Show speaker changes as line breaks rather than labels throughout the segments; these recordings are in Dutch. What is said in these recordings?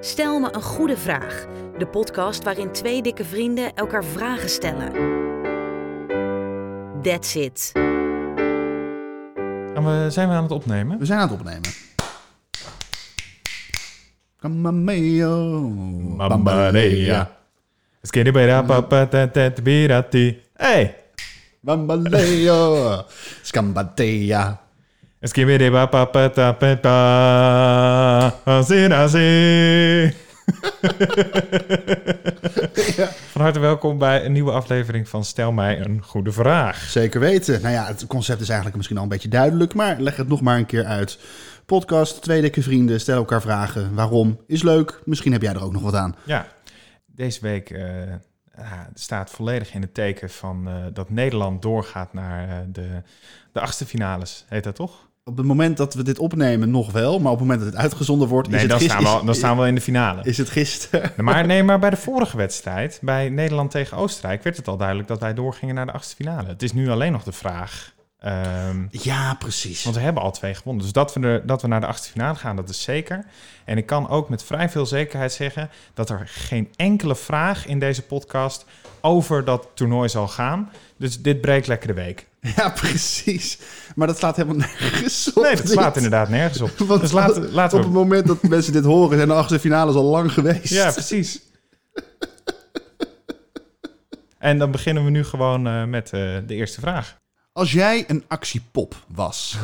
Stel me een goede vraag. De podcast waarin twee dikke vrienden elkaar vragen stellen. That's it.
Gaan we, zijn we aan het opnemen?
We zijn aan het opnemen. Camameo. Bambalea.
Skidibidapapatatatbirati. Hey!
Bambaleo. Scambatea.
Skibidibapapatapata. Azirazi. Van harte welkom bij een nieuwe aflevering van Stel mij een goede vraag.
Zeker weten. Nou ja, het concept is eigenlijk misschien al een beetje duidelijk, maar leg het nog maar een keer uit. Podcast, twee dikke vrienden, stel elkaar vragen. Waarom? Is leuk. Misschien heb jij er ook nog wat aan.
Ja, deze week eh, ah, staat volledig in het teken van eh, dat Nederland doorgaat naar eh, de, de achtste finales. Heet dat toch?
Op het moment dat we dit opnemen nog wel, maar op het moment dat het uitgezonden wordt, is
Nee,
het
dan
gisteren.
staan, we, al- dan staan we al in de finale.
Is het gisteren?
Maar nee, maar bij de vorige wedstrijd, bij Nederland tegen Oostenrijk, werd het al duidelijk dat wij doorgingen naar de achtste finale. Het is nu alleen nog de vraag. ehm,
Ja, precies.
want we hebben al twee gewonnen. Dus dat we, er- dat we naar de achtste finale gaan, dat is zeker. En ik kan ook met vrij veel zekerheid zeggen dat er geen enkele vraag in deze podcast over dat toernooi zal gaan. Dus dit breekt lekker de week.
Ja, precies. Maar dat slaat helemaal nergens op.
Nee, dat slaat
dit.
inderdaad nergens op.
Want
Dus laten, laten
op
we...
het moment dat mensen dit horen, zijn de achtste finales al lang geweest.
Ja, precies. En dan beginnen we nu gewoon eh, met eh, de eerste vraag.
Als jij een actiepop
Oh,
was,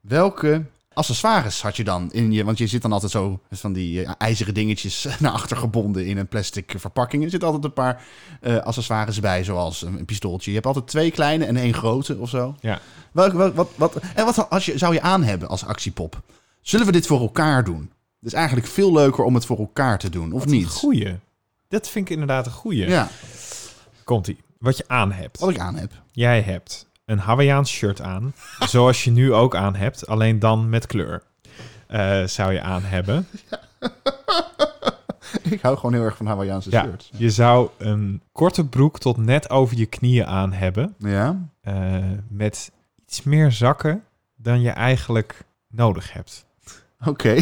welke accessoires had je dan in je? Want je zit dan altijd zo met van die eh, ijzeren dingetjes naar achter gebonden in een plastic verpakking. Er zitten altijd een paar eh, accessoires bij, zoals een, een pistooltje. Je hebt altijd twee kleine en één grote of zo.
Ja.
Welk, welk- wat, wat, en wat als je, zou je aan hebben als actiepop? Zullen we dit voor elkaar doen? Het is eigenlijk veel leuker om het voor elkaar te doen, of niet?
Goeie. Dat vind ik inderdaad een goeie.
Ja,
Komt-ie. Wat je aan hebt.
wat ik aan heb.
Jij hebt een Hawaiiaans shirt aan, zoals je nu ook aan hebt, alleen dan met kleur. Eh, zou je aan hebben.
Ik hou gewoon heel erg van Hawaiiaanse
Ja,
shirts.
je zou een korte broek tot net over je knieën aan hebben,
Ja.
eh, met iets meer zakken dan je eigenlijk nodig hebt.
Oké.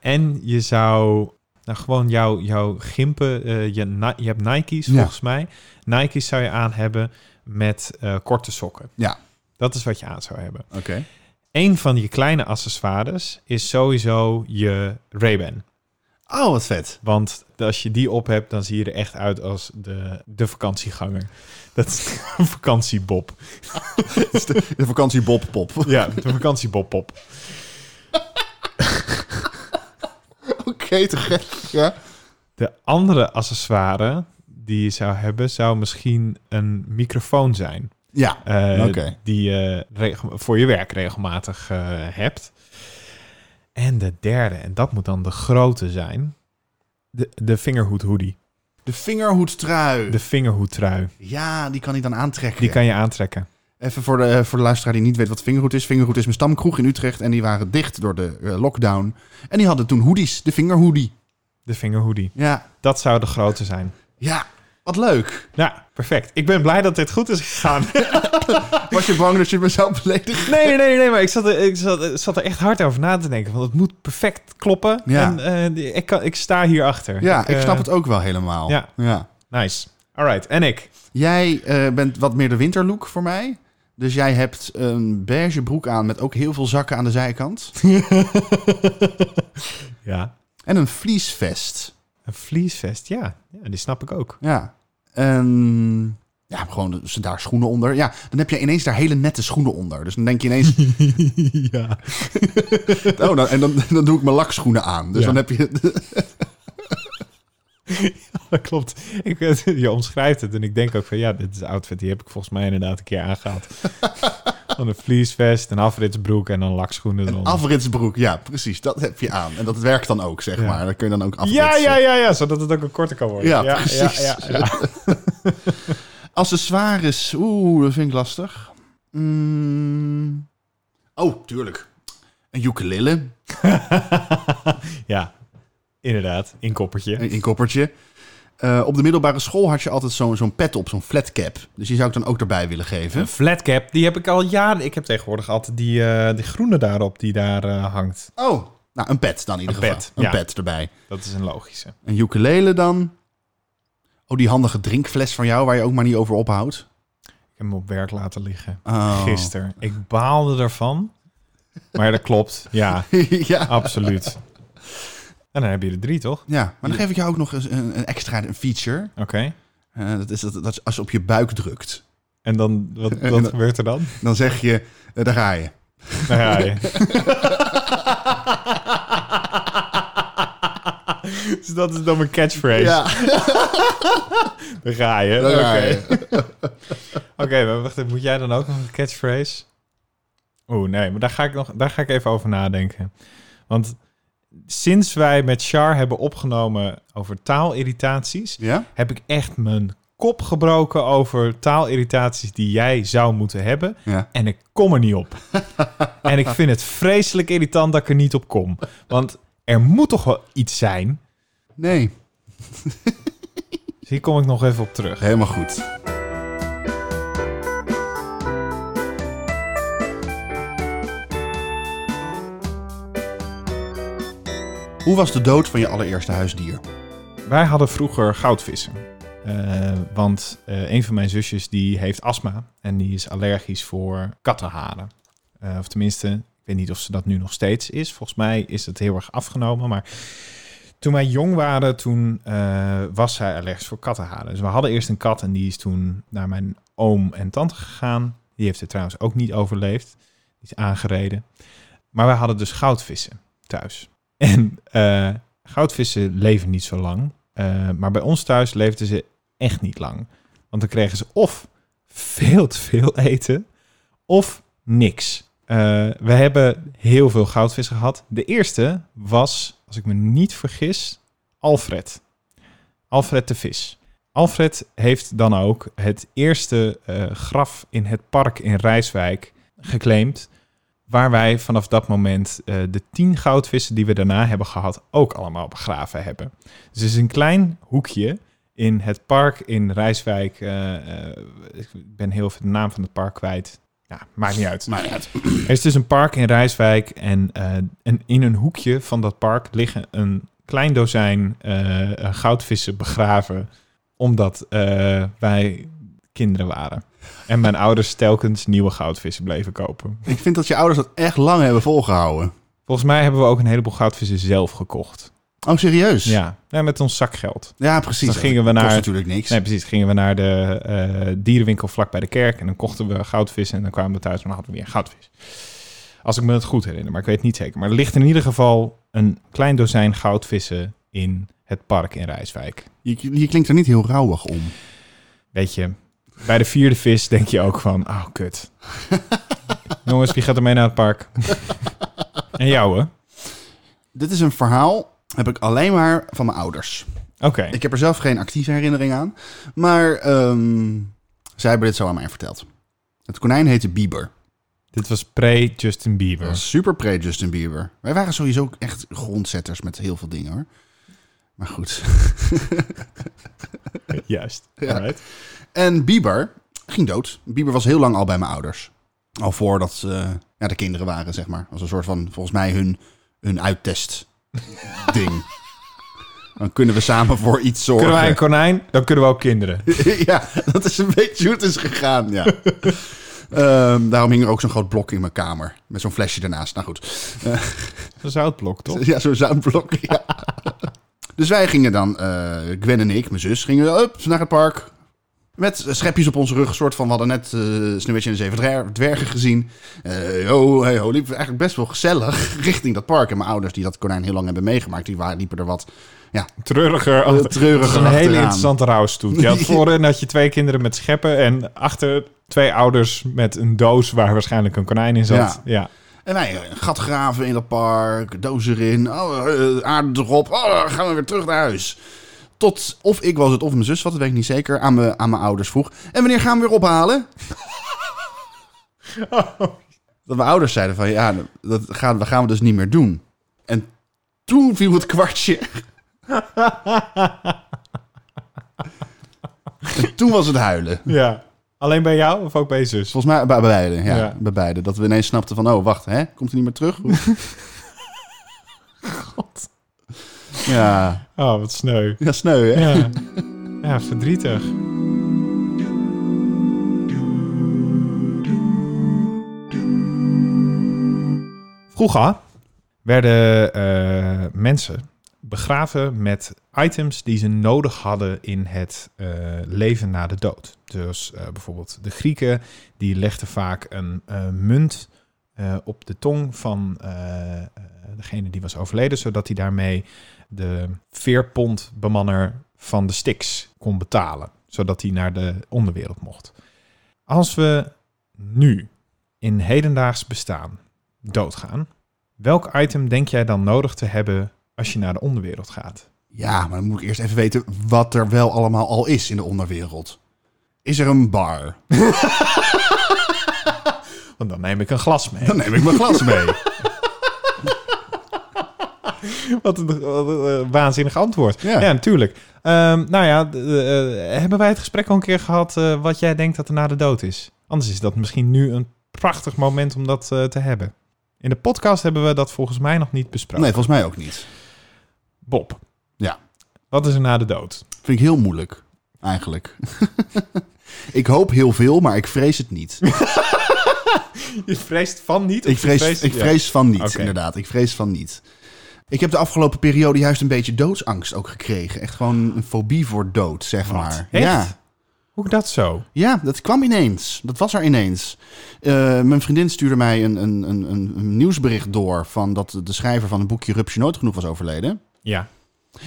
En je zou nou, gewoon jouw jouw gimpen, eh, je, Ni- je hebt Nike's
Ja.
volgens mij. Nike's zou je aan hebben met eh, korte sokken.
Ja.
Dat is wat je aan zou hebben.
Oké.
Een van je kleine accessoires is sowieso je Ray-Ban.
Oh, wat vet.
Want als je die op hebt, dan zie je er echt uit als de, de vakantieganger. Dat is een vakantiebob.
De vakantie Bob Pop. Oké.
Ja, de vakantiebob-pop.
te gek. Ja.
De andere accessoire die je zou hebben, zou misschien een microfoon zijn.
Ja.
Eh,
Oké.
Die je regel- voor je werk regelmatig eh, hebt. En de derde, en dat moet dan de grote zijn, de, de vingerhoed hoodie.
De vingerhoedtrui.
De vingerhoedtrui.
Ja, die kan ik dan aantrekken.
Die kan je aantrekken.
Even voor de, voor de luisteraar die niet weet wat vingerhoed is. Vingerhoed is mijn stamkroeg in Utrecht. En die waren dicht door de eh, lockdown. En die hadden toen hoodies. De vingerhoodie.
De vingerhoodie.
Ja.
Dat zou de grote zijn.
Ja. Wat leuk.
Nou, perfect. Ik ben blij dat dit goed is gegaan.
Was je bang dat je me zou beledigen?
Nee, nee, nee, maar ik zat er, ik zat, ik zat er echt hard over na te denken. Want het moet perfect kloppen.
Ja.
En eh, die- ik, kan, ik sta hierachter.
Ja, ik
eh,
snap het ook wel helemaal.
ja.
ja.
Nice. All right. En ik.
Jij eh, bent wat meer de winterlook voor mij. Dus jij hebt een beige broek aan met ook heel veel zakken aan de zijkant.
Ja.
En een vliesvest.
Een vliesvest, ja. ja. Die snap ik ook.
Ja. En ja, gewoon dus daar schoenen onder. Ja, dan heb je ineens daar hele nette schoenen onder. Dus dan denk je ineens...
Ja.
oh, nou, en dan, dan doe ik mijn lakschoenen aan. Dus
Ja.
dan heb je...
Dat klopt. Ik, eh, je omschrijft het en ik denk ook van ja, dit is een outfit. Die heb ik volgens mij inderdaad een keer aangehaald. Dan een vliesvest, een afritsbroek en een lakschoenen
Een
eronder.
afritsbroek. Ja, precies. Dat heb je aan. En dat werkt dan ook, zeg
Ja.
maar. Dat kun je dan ook afritsen.
Ja, ja, ja, ja, zodat het ook een korter kan worden.
Ja, precies.
Ja, ja, ja.
Accessoires. Oeh, dat vind ik lastig. Mm. Oh, tuurlijk. Een ukulele.
Ja, inderdaad, in koppertje.
in koppertje. Eh, op de middelbare school had je altijd zo'n zo'n pet op, zo'n flatcap. Dus die zou ik dan ook erbij willen geven.
Een flatcap, die heb ik al jaren. Ik heb tegenwoordig altijd die, eh, die groene daarop die daar eh, hangt.
Oh, nou Nou, een pet dan in ieder
Een
geval.
pet,
een
ja.
pet erbij.
Dat is een logische.
Een ukulele dan. Oh, die handige drinkfles van jou waar je ook maar niet over ophoudt.
Ik heb hem op werk laten liggen.
Oh.
Gisteren. Ik baalde ervan. Maar dat klopt. Ja, Oh.
ja.
absoluut. En dan heb je er drie, toch?
ja, maar dan geef ik jou ook nog eens een, een extra een feature.
Oké.
Eh, dat, is, dat, dat is als je op je buik drukt.
En dan, wat,
En dan-
wat gebeurt er dan?
Dan zeg je, eh, daar ga je.
Nou ja, ja. dus dat is dan mijn catchphrase. Daar ga je.
daar
Oké,
ga je.
Oké, maar wacht even. Moet jij dan ook nog een catchphrase? Oeh, nee. Maar daar ga ik, nog, daar ga ik even over nadenken. Want sinds wij met Char hebben opgenomen over taalirritaties...
Ja?
heb ik echt mijn kop gebroken over taalirritaties die jij zou moeten hebben.
Ja.
En ik kom er niet op. en ik vind het vreselijk irritant dat ik er niet op kom. Want er moet toch wel iets zijn.
Nee,
Dus hier kom ik nog even op terug.
helemaal goed. Hoe was de dood van je allereerste huisdier?
Wij hadden vroeger goudvissen. Eh, want eh, een van mijn zusjes die heeft astma en die is allergisch voor kattenharen. Eh, of tenminste, ik weet niet of ze dat nu nog steeds is. Volgens mij is het heel erg afgenomen. Maar toen wij jong waren, toen eh, was zij allergisch voor kattenharen. Dus we hadden eerst een kat en die is toen naar mijn oom en tante gegaan. Die heeft het trouwens ook niet overleefd. Die is aangereden. Maar wij hadden dus goudvissen thuis. En eh, goudvissen leven niet zo lang. Eh, maar bij ons thuis leefden ze echt niet lang. Want dan kregen ze of veel te veel eten, of niks. Eh, we hebben heel veel goudvissen gehad. De eerste was, als ik me niet vergis, Alfred. Alfred de vis. Alfred heeft dan ook het eerste eh, graf in het park in Rijswijk geclaimd. Waar wij vanaf dat moment eh, de tien goudvissen die we daarna hebben gehad ook allemaal begraven hebben. Dus het is een klein hoekje in het park in Rijswijk. eh, eh, ik ben heel veel de naam van het park kwijt. Ja, maakt niet uit.
Maar het
Er is dus een park in Rijswijk en, eh, en in een hoekje van dat park liggen een klein dozijn eh, eh, goudvissen begraven, omdat eh, wij kinderen waren. En mijn ouders telkens nieuwe goudvissen bleven kopen.
Ik vind dat je ouders dat echt lang hebben volgehouden.
Volgens mij hebben we ook een heleboel goudvissen zelf gekocht.
Oh, serieus?
Ja, ja met ons zakgeld.
Ja, precies.
Dan gingen we
Dat kost
naar-
natuurlijk niks.
Nee, precies. Gingen we naar de eh, dierenwinkel vlak bij de kerk en dan kochten we goudvis en dan kwamen we thuis en dan hadden we weer goudvis. Als ik me het goed herinner, maar ik weet het niet zeker. Maar er ligt in ieder geval een klein dozijn goudvissen in het park in Rijswijk.
Je, je klinkt er niet heel rauwig om.
Weet je, bij de vierde vis denk je ook van, oh kut. Jongens, wie gaat er mee naar het park? en jou, hè?
Dit is een verhaal, heb ik alleen maar van mijn ouders.
Oké.
Ik heb er zelf geen actieve herinnering aan. Maar ehm, zij hebben dit zo aan mij verteld. Het konijn heette Bieber.
Dit was pre-Justin
Dat
Bieber.
was super pre-Justin Bieber. Wij waren sowieso ook echt grondzetters met heel veel dingen hoor. Maar goed.
Juist.
Ja.
Alright.
En Bieber ging dood. Bieber was heel lang al bij mijn ouders. Al voordat eh ja, de kinderen waren, zeg maar. Als een soort van, volgens mij, hun, hun uittest ding. Dan kunnen we samen voor iets zorgen.
Kunnen wij een konijn, dan kunnen we ook kinderen.
ja, dat is een beetje hoe het is gegaan, ja. Ehm, daarom hing er ook zo'n groot blok in mijn kamer. Met zo'n flesje ernaast. Nou goed.
Een zoutblok, toch?
Ja, zo'n zoutblok. Ja. dus wij gingen dan, eh, Gwen en ik, mijn zus, gingen up, naar het park. Met schepjes op onze rug, soort van, we hadden net eh Sneeuwwitje en de Zeven Dwer- Dwergen gezien. Eh ho, hey, ho, liepen we eigenlijk best wel gezellig richting dat park. En mijn ouders, die dat konijn heel lang hebben meegemaakt, die waren, liepen er wat
Treuriger.
eh, treuriger
Dat is een hele
achteraan.
interessante rouwstoet. Je had voorin had je twee kinderen met scheppen en achter twee ouders met een doos waar waarschijnlijk een konijn in zat. Ja.
En wij eh, een gat graven in dat park, doos erin, oh, eh, aarde erop, oh, dan gaan we weer terug naar huis. Tot of ik was het of mijn zus, wat dat weet ik niet zeker, aan mijn, aan mijn ouders vroeg. En wanneer gaan we weer ophalen? Dat mijn ouders zeiden van ja, dat gaan, dat gaan we dus niet meer doen. En toen viel het kwartje. en toen was het huilen.
ja. Alleen bij jou of ook bij je zus?
Volgens mij bij beide, ja,
Ja.
bij beide. Dat we ineens snapten van, oh, wacht, hè? Komt hij niet meer terug?
god.
Ja,
Oh, wat sneu.
ja sneu hè?
Ja, ja verdrietig. Vroeger werden eh, mensen begraven met items die ze nodig hadden in het eh, leven na de dood. Dus eh, bijvoorbeeld de Grieken, die legden vaak een eh, munt eh, op de tong van eh, eh, degene die was overleden, zodat hij daarmee de veerpondbemanner van de Styx kon betalen, zodat hij naar de onderwereld mocht. Als we nu in hedendaags bestaan doodgaan, welk item denk jij dan nodig te hebben als je naar de onderwereld gaat?
Ja, maar dan moet ik eerst even weten wat er wel allemaal al is in de onderwereld. Is er een bar?
Want dan neem ik een glas mee.
Dan neem ik mijn glas mee.
Wat een eh, eh, waanzinnig antwoord.
Ja.
Ja, natuurlijk. Ehm, nou ja, d- eh, hebben wij het gesprek al een keer gehad eh, wat jij denkt dat er na de dood is? Anders is dat misschien nu een prachtig moment om dat eh, te hebben. In de podcast hebben we dat volgens mij nog niet besproken.
Nee, volgens mij ook niet.
Bob.
Ja.
Wat is er na de dood?
Vind ik heel moeilijk, eigenlijk. ik hoop heel veel, maar ik vrees het niet.
Je vreest van niet?
Ik vrees, ik vrees van niet,
Oké.
inderdaad. Ik vrees van niet. Ik heb de afgelopen periode juist een beetje doodsangst ook gekregen. Echt gewoon een fobie voor dood, zeg maar.
Echt?
Ja.
Hoe dat zo?
Ja, dat kwam ineens. Dat was er ineens. Eh, mijn vriendin stuurde mij een, een, een, een een nieuwsbericht door... van dat de schrijver van een boekje Rupsje Nooit Genoeg was overleden.
Ja.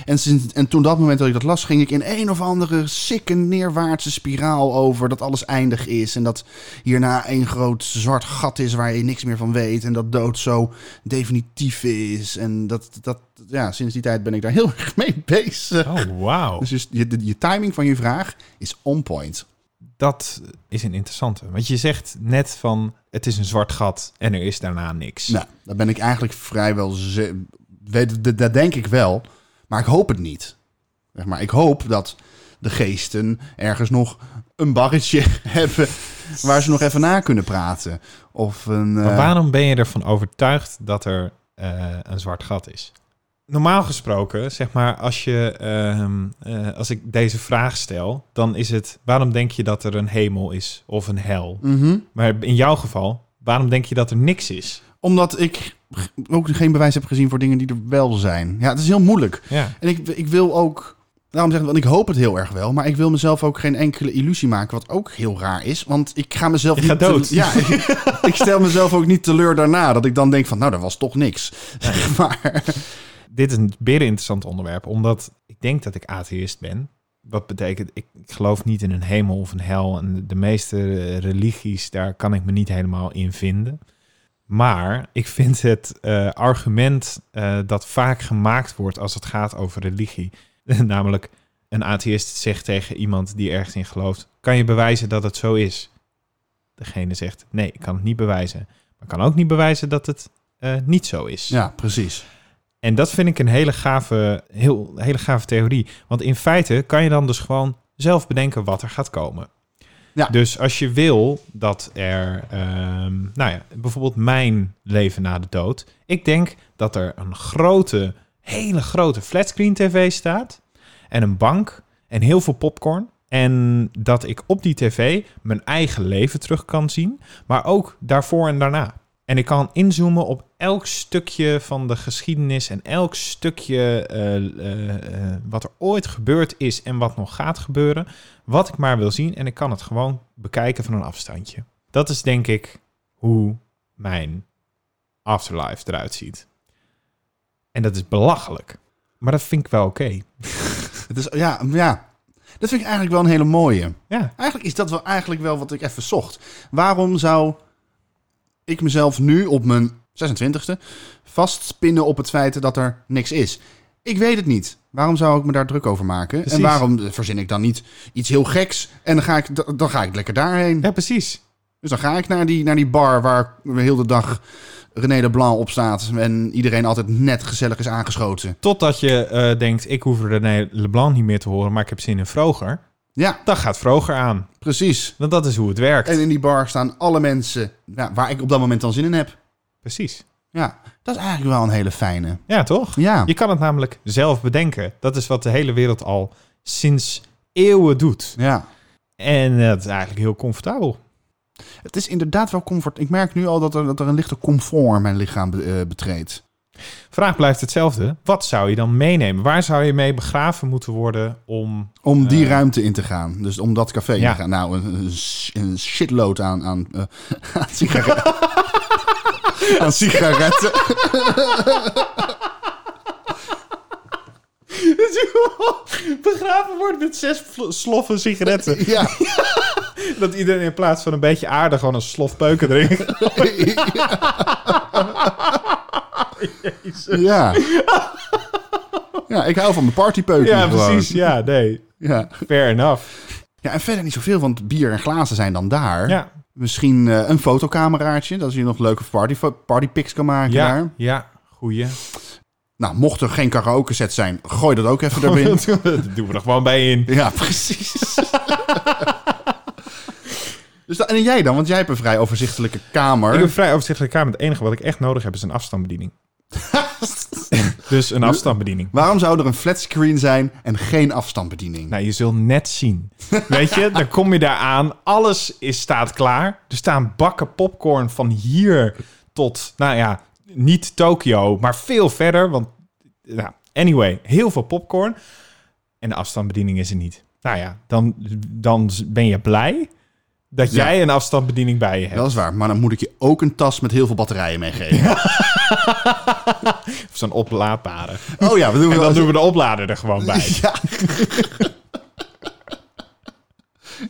En, sinds, en toen dat moment dat ik dat las, ging ik in een of andere sikke neerwaartse spiraal over... dat alles eindig is en dat hierna één groot zwart gat is waar je niks meer van weet... en dat dood zo definitief is. En dat, dat, ja, sinds die tijd ben ik daar heel erg mee bezig.
Oh, wauw.
Dus je- je, je timing van je vraag is on point.
Dat is een interessante. Want je zegt net van, het is een zwart gat en er is daarna niks.
Nou, daar ben ik eigenlijk vrijwel... ze- weet- d- Dat denk ik wel, maar ik hoop het niet. Zeg maar, ik hoop dat de geesten ergens nog een barretje hebben... waar ze nog even na kunnen praten. Of een... eh,
Maar waarom ben je ervan overtuigd dat er eh, een zwart gat is? Normaal gesproken, zeg maar, als, je, ehm, eh, als ik deze vraag stel, dan is het waarom denk je dat er een hemel is of een hel?
mhm.
Maar in jouw geval, waarom denk je dat er niks is?
Omdat ik g- ook geen bewijs heb gezien voor dingen die er wel zijn. Ja, het is heel moeilijk.
Ja.
En ik, ik wil ook... Daarom zeg ik, want ik hoop het heel erg wel, maar ik wil mezelf ook geen enkele illusie maken, wat ook heel raar is, want ik ga mezelf
Je
niet
gaat dood.
te- ja, ik, ik stel mezelf ook niet teleur daarna, dat ik dan denk van, nou, dat was toch niks. Zeg maar,
Dit is een binnen interessant onderwerp, omdat ik denk dat ik atheïst ben. Wat betekent, ik ik geloof niet in een hemel of een hel. En de meeste eh, religies, daar kan ik me niet helemaal in vinden. Maar ik vind het eh, argument eh, dat vaak gemaakt wordt als het gaat over religie. Namelijk, een atheïst zegt tegen iemand die ergens in gelooft: Kan je bewijzen dat het zo is? Degene zegt: Nee, ik kan het niet bewijzen. Maar ik kan ook niet bewijzen dat het eh, niet zo is.
ja, precies.
En dat vind ik een hele gave, heel, hele gave theorie. Want in feite kan je dan dus gewoon zelf bedenken wat er gaat komen.
Ja.
Dus als je wil dat er, ehm, nou ja, bijvoorbeeld mijn leven na de dood. Ik denk dat er een grote, hele grote flatscreen tv staat. En een bank en heel veel popcorn. En dat ik op die tv mijn eigen leven terug kan zien. Maar ook daarvoor en daarna. En ik kan inzoomen op elk stukje van de geschiedenis en elk stukje eh, eh, eh, wat er ooit gebeurd is en wat nog gaat gebeuren. Wat ik maar wil zien en ik kan het gewoon bekijken van een afstandje. Dat is denk ik hoe mijn afterlife eruit ziet. En dat is belachelijk. Maar dat vind ik wel oké.
Het is, ja, ja, dat vind ik eigenlijk wel een hele mooie.
Ja.
Eigenlijk is dat wel, eigenlijk wel wat ik even zocht. Waarom zou ik mezelf nu op mijn 26e vastpinnen op het feit dat er niks is? Ik weet het niet. Waarom zou ik me daar druk over maken? En
Precies.
waarom eh, verzin ik dan niet iets heel geks en dan ga ik, da- dan ga ik lekker daarheen?
ja, precies.
Dus dan ga ik naar die, naar die bar waar heel de dag René de Blanc op staat en iedereen altijd net gezellig is aangeschoten.
Totdat je eh, denkt, ik hoef René Leblanc niet meer te horen, maar ik heb zin in Vroger.
Ja,
Dan gaat Vroger aan.
precies.
Want dat is hoe het werkt.
En in die bar staan alle mensen ja, waar ik op dat moment dan zin in heb.
Precies.
Ja, dat is eigenlijk wel een hele fijne.
Ja, toch?
Ja,
Je kan het namelijk zelf bedenken. Dat is wat de hele wereld al sinds eeuwen doet.
ja.
En eh, dat is eigenlijk heel comfortabel.
Het is inderdaad wel comfort. Ik merk nu al dat er, dat er een lichte comfort mijn lichaam be- eh, betreedt.
Vraag blijft hetzelfde. Wat zou je dan meenemen? Waar zou je mee begraven moeten worden om...
Om die
Eh.
ruimte in te gaan. Dus om dat café in
Ja.
te gaan. Nou, een, een sh- een shitload aan, aan, eh, aan sigaretten. aan sigaretten.
begraven worden met zes sloffen sigaretten.
Ja.
Dat iedereen in plaats van een beetje aarde gewoon een slof peuken drinkt.
ja. Ja, ik hou van mijn partypeuken
Ja,
gewoon.
precies. Ja, nee.
Ja.
Fair enough.
ja, en verder niet zoveel, want bier en glazen zijn dan daar.
Ja,
Misschien eh, een fotocameraatje, dat je nog leuke party, partypics kan maken
ja,
daar.
ja. Goeie.
Nou, mocht er geen karaoke set zijn, gooi dat ook even erin.
Dat doen we er gewoon bij in.
Ja, precies. dus da- en jij dan? Want jij hebt een vrij overzichtelijke kamer.
Ik heb een vrij overzichtelijke kamer. Het enige wat ik echt nodig heb is een afstandsbediening. dus een afstandsbediening.
Waarom zou er een flatscreen zijn en geen afstandsbediening?
Nou, je zult net zien. Weet je, dan kom je daar aan. Alles is, staat klaar. Er staan bakken popcorn van hier tot, nou ja, niet Tokio, maar veel verder. Want, nou, anyway, heel veel popcorn. En de afstandsbediening is er niet. Nou ja, dan, dan ben je blij dat
Ja.
jij een afstandsbediening bij je hebt.
Dat is waar, maar dan moet ik je ook een tas met heel veel batterijen meegeven.
Of zo'n oplaadbare.
Oh ja, we doen
En
wel
dan doen we de oplader er gewoon bij.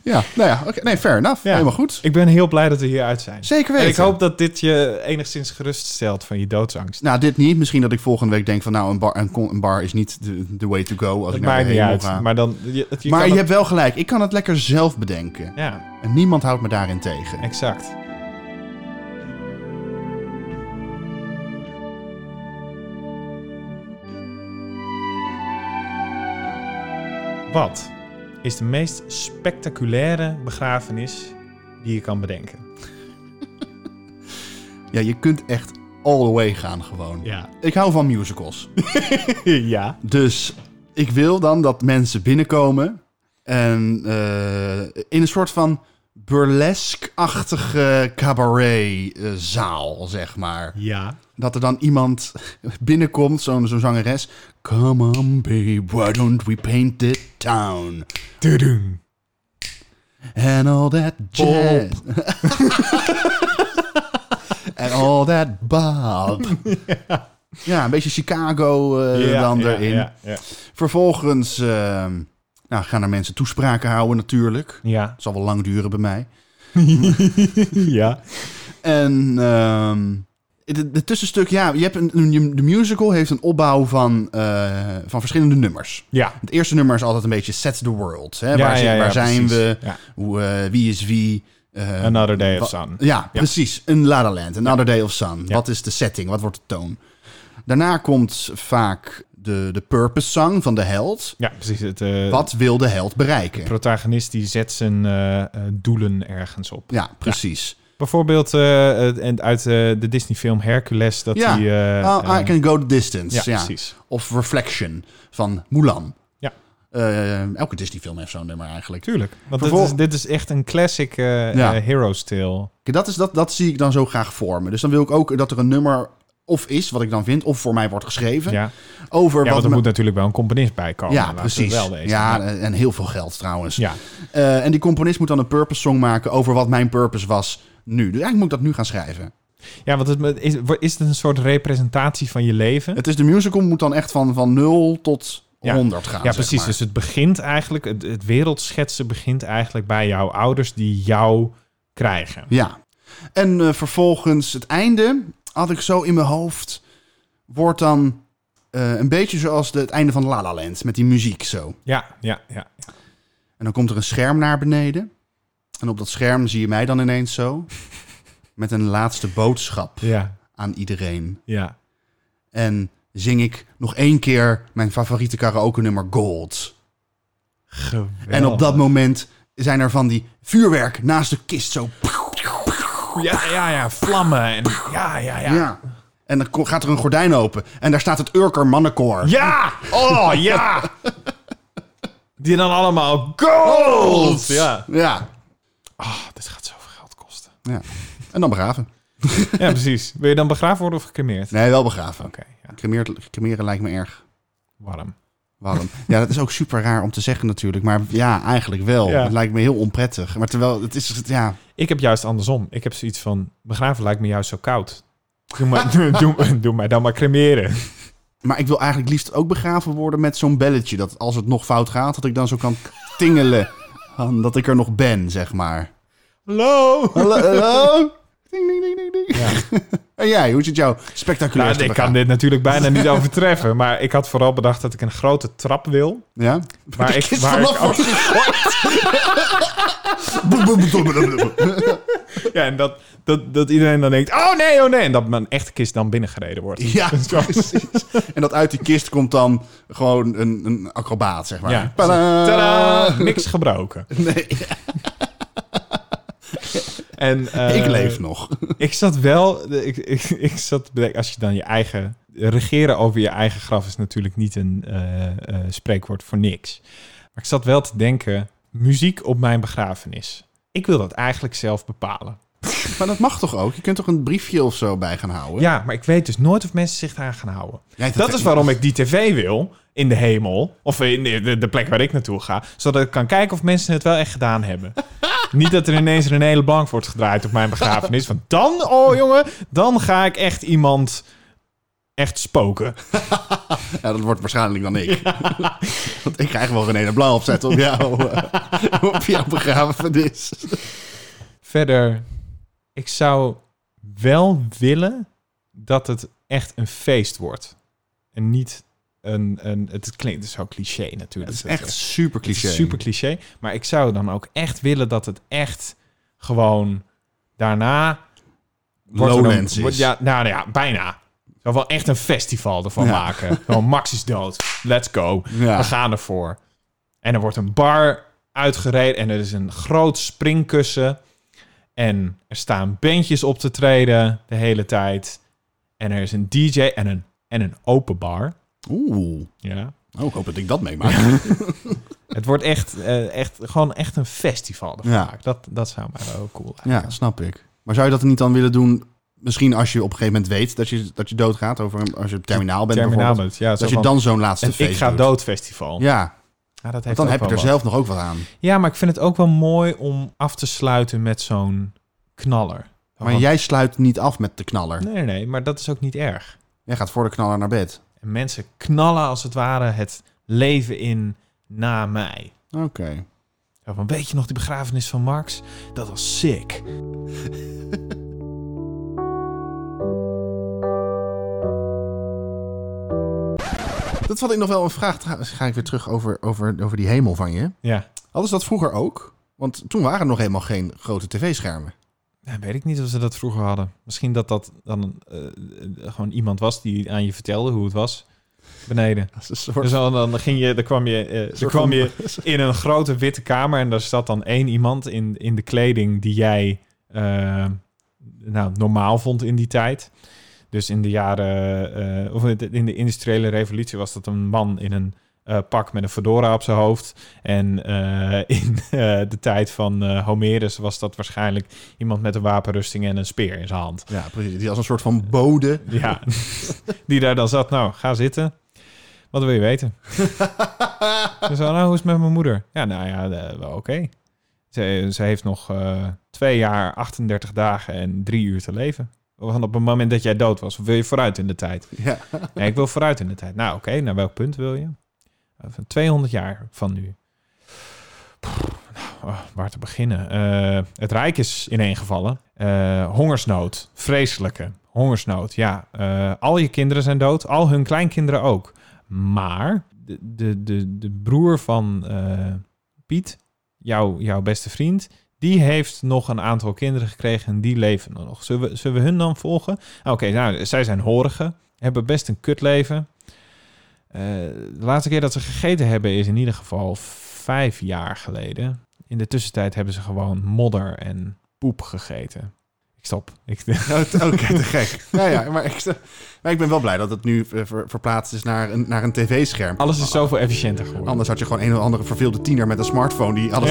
Ja. ja, nou ja, oké. Nee, fair enough.
Ja.
Helemaal goed.
Ik ben heel blij dat we hieruit zijn.
Zeker
En
weten.
ik hoop dat dit je enigszins geruststelt van je doodsangst.
Nou, dit niet. Misschien dat ik volgende week denk van... nou, een bar, een, con- een bar is niet de, de way to go als
Dat
ik naar
maakt
de
niet
hemel
uit.
ga. Maar
Maar dan... Je, het- je
je,
kan het-
hebt wel gelijk. Ik kan het lekker zelf bedenken.
Ja,
En niemand houdt me daarin tegen.
exact. Wat is de meest spectaculaire begrafenis die je kan bedenken?
Ja, je kunt echt all the way gaan gewoon.
Ja.
Ik hou van musicals.
ja.
Dus ik wil dan dat mensen binnenkomen en eh, in een soort van burlesque-achtige cabaretzaal, zeg maar.
Ja.
Dat er dan iemand binnenkomt, zo'n zo'n zangeres. Come on babe, why don't we paint the town?
Tudum.
And all that jazz. And all that bob. Ja, een beetje Chicago eh, dan erin.
Ja, ja.
Vervolgens ehm, nou, gaan er mensen toespraken houden natuurlijk.
ja.
Het zal wel lang duren bij mij.
ja.
En ehm, de, de tussenstuk, ja, je hebt een, een- de musical heeft een opbouw van, eh, van verschillende nummers.
Ja.
Het eerste nummer is altijd een beetje Set the World. Hè?
Ja,
waar zit-
ja, ja,
waar zijn
precies.
we?
Ja.
Hoe, eh, wie is wie? Eh,
Another Day
wa-
of Sun.
Ja, precies. Een La La Land, Another Day of Sun.
Ja.
Wat is de setting? Wat wordt de toon? Daarna komt vaak de, de purpose song van de held.
Ja, precies. Het, eh,
Wat wil de held bereiken?
protagonist die zet zijn eh, eh, doelen ergens op.
Ja, precies.
Bijvoorbeeld eh, het- en uit eh, de Disney-film Hercules. Dat
Ja.
hij, eh,
Oh, I
eh,
can go the distance.
ja,
Ja,
precies.
Of Reflection van Mulan.
Ja.
Eh, elke Disney-film heeft zo'n nummer eigenlijk.
Tuurlijk. Want
Vervol-
dit, is, dit is echt een classic eh
Ja.
eh, hero's tale.
Dat, is, dat, dat zie ik dan zo graag voor me. Dus dan wil ik ook dat er een nummer of is, wat ik dan vind, of voor mij wordt geschreven.
Ja,
Over
ja
wat
want er
me-
moet natuurlijk wel een componist bij komen.
ja
Laten we
precies.
Wel wezen.
ja, en heel veel geld trouwens.
ja.
Eh, en die componist moet dan een purpose song maken over wat mijn purpose was nu. Dus eigenlijk moet ik dat nu gaan schrijven.
ja, want het, is, is het een soort representatie van je leven?
Het is de musical, moet dan echt van, van 0 tot
Ja.
100 gaan.
Ja,
zeg
precies.
maar.
Dus het begint eigenlijk, het, het wereldschetsen begint eigenlijk bij jouw ouders die jou krijgen.
Ja. En eh, vervolgens het einde had ik zo in mijn hoofd. Wordt dan eh, een beetje zoals de, het einde van La La Land met die muziek zo.
Ja, ja, ja.
En dan komt er een scherm naar beneden. En op dat scherm zie je mij dan ineens zo. Met een laatste boodschap
Ja,
aan iedereen.
ja.
En zing ik nog één keer mijn favoriete karaoke nummer Gold.
Geweldig.
En op dat moment zijn er van die vuurwerk naast de kist zo.
Ja, ja, ja, vlammen. En, ja, ja, ja,
Ja. En dan ko- gaat er een gordijn open. En daar staat het Urker mannenkoor.
Ja! Oh, ja! Die dan allemaal gold! Ja.
ja.
Ah, dit gaat zoveel geld kosten.
Ja. En dan begraven.
Ja, precies. Wil je dan begraven worden of gecremeerd?
Nee, wel begraven.
Oké, ja.
Cremeren, cremeren lijkt me erg
warm.
warm. ja, dat is ook super raar om te zeggen natuurlijk. Maar ja, eigenlijk wel.
Ja.
Het lijkt me heel onprettig. Maar terwijl, het is... Ja,
Ik heb juist andersom. Ik heb zoiets van, begraven lijkt me juist zo koud. Doe, maar, doe, doe, doe mij dan maar cremeren.
Maar ik wil eigenlijk liefst ook begraven worden met zo'n belletje. Dat als het nog fout gaat, dat ik dan zo kan tingelen. Van Dat ik er nog ben, zeg maar.
Hallo!
Hallo? hallo? Ding, ding, ding, ding, ding. En jij, hoe zit jouw spectaculair?
Nou, ik kan dit natuurlijk bijna niet overtreffen. Maar ik had vooral bedacht dat ik een grote trap wil.
Ja?
Waar ik, waar ik ook- ja, en dat, dat, dat iedereen dan denkt, oh nee, oh nee. En dat mijn echte kist dan binnengereden wordt.
Ja, precies. En dat uit die kist komt dan gewoon een, een acrobaat, zeg maar.
Ja.
Tadaa!
Tadaa! Niks gebroken.
Nee,
En, eh,
ik leef nog.
Ik zat wel, ik, ik, ik zat, te bedenken, als je dan je eigen, regeren over je eigen graf is natuurlijk niet een eh, eh, spreekwoord voor niks. Maar ik zat wel te denken, muziek op mijn begrafenis. Ik wil dat eigenlijk zelf bepalen.
Maar dat mag toch ook? Je kunt toch een briefje of zo bij gaan houden?
Ja, maar ik weet dus nooit of mensen zich daar gaan houden.
Jij hebt
Dat is waarom ik die tv wil in de hemel. Of in de- de, de plek waar ik naartoe ga. Zodat ik kan kijken of mensen het wel echt gedaan hebben. Niet dat er ineens een hele bank wordt gedraaid op mijn begrafenis. Want dan, oh jongen, dan ga ik echt iemand echt spoken.
Ja, dat wordt waarschijnlijk dan ik. Want ik krijg wel René de Blauw opzetten op jou, eh, op jouw begrafenis.
Verder, ik zou wel willen dat het echt een feest wordt. En niet een... een het klinkt zo cliché natuurlijk.
Het is echt super cliché.
Het is super cliché. Maar ik zou dan ook echt willen dat het echt gewoon daarna... wordt er dan-
Lowlands
wordt-
is.
ja, nou ja, bijna. Ik zou wel echt een festival ervan
Ja.
maken. Gewoon Max is dood. Let's go.
Ja.
We gaan ervoor. En er wordt een bar uitgereden. En er is een groot springkussen. En er staan bandjes op te treden de hele tijd. En er is een DJ en een, en een open bar.
Oeh,
Ja.
oh, ik hoop dat ik dat meemaak.
Het wordt echt, eh, echt gewoon echt een festival. ervan
Ja.
maken. Dat, dat zou mij wel cool lijken.
Ja, snap ik. Maar zou je dat niet dan willen doen, misschien als je op een gegeven moment weet dat je, dat je doodgaat, over een- als je op terminaal bent
Terminaal
bijvoorbeeld,
met, ja, zo
dat je
van,
dan zo'n laatste
een
feest
ik ga
doet.
dood festival. Ja,
Ja,
dat heeft
want dan
ook
heb je er
wel
zelf nog ook wat aan.
wat. Ja, maar ik vind het ook wel mooi om af te sluiten met zo'n knaller.
Maar
Want-
jij sluit niet af met de knaller.
Nee, nee, nee, maar dat is ook niet erg.
Jij gaat voor de knaller naar bed.
En mensen knallen als het ware het leven in na mij.
Oké.
Zo van, weet je nog die begrafenis van Marx? Dat was sick.
Dat had ik nog wel een vraag. Trouwens, ga ik weer terug over, over, over die hemel van je.
Ja,
Hadden ze dat vroeger ook? Want toen waren er nog helemaal geen grote tv-schermen.
Ja, weet ik niet of ze dat vroeger hadden. Misschien dat dat dan eh, eh, gewoon iemand was die aan je vertelde hoe het was beneden.
Dat is een soort...
Dus dan, dan ging je, dan kwam je, eh, dan
soort
kwam
van-
je in een grote witte kamer en daar zat dan één iemand in, in de kleding die jij eh, nou, normaal vond in die tijd. Dus in de jaren, eh, of in de- in de industriële revolutie was dat een man in een eh, pak met een fedora op zijn hoofd. En eh, in eh, de tijd van eh, Homerus was dat waarschijnlijk iemand met een wapenrusting en een speer in zijn hand.
Ja, precies. Die als een soort van bode.
Ja, die daar dan zat. Nou, ga zitten. Wat wil je weten? Ze zei, nou, hoe is het met mijn moeder? Ja, nou ja, eh, wel oké. Ze, ze heeft nog eh, twee jaar, 38 dagen en drie uur te leven. Want op het moment dat jij dood was, of wil je vooruit in de tijd?
Ja.
Nee, ik wil vooruit in de tijd. Nou, oké, naar welk punt wil je? Eh, Van 200 jaar van nu. Pff, nou, oh, waar te beginnen? Eh, het Rijk is ineengevallen. Eh hongersnood, vreselijke hongersnood. Ja, Eh, al je kinderen zijn dood, al hun kleinkinderen ook. Maar de, de, de, de broer van eh, Piet, jouw, jouw beste vriend, die heeft nog een aantal kinderen gekregen en die leven er nog. Zullen we, zullen we hun dan volgen? Oké, nou, zij zijn horigen hebben best een kutleven. Eh, de laatste keer dat ze gegeten hebben is in ieder geval vijf jaar geleden. In de tussentijd hebben ze gewoon modder en poep gegeten. Ik Ik stop. Ik,
Oké, oh, te gek. Ja, ja, maar, ik, maar ik ben wel blij dat het nu eh, ver- verplaatst is naar een, naar een tv-scherm.
alles is zoveel efficiënter geworden.
Anders had je gewoon een of andere verveelde tiener met een smartphone die alles...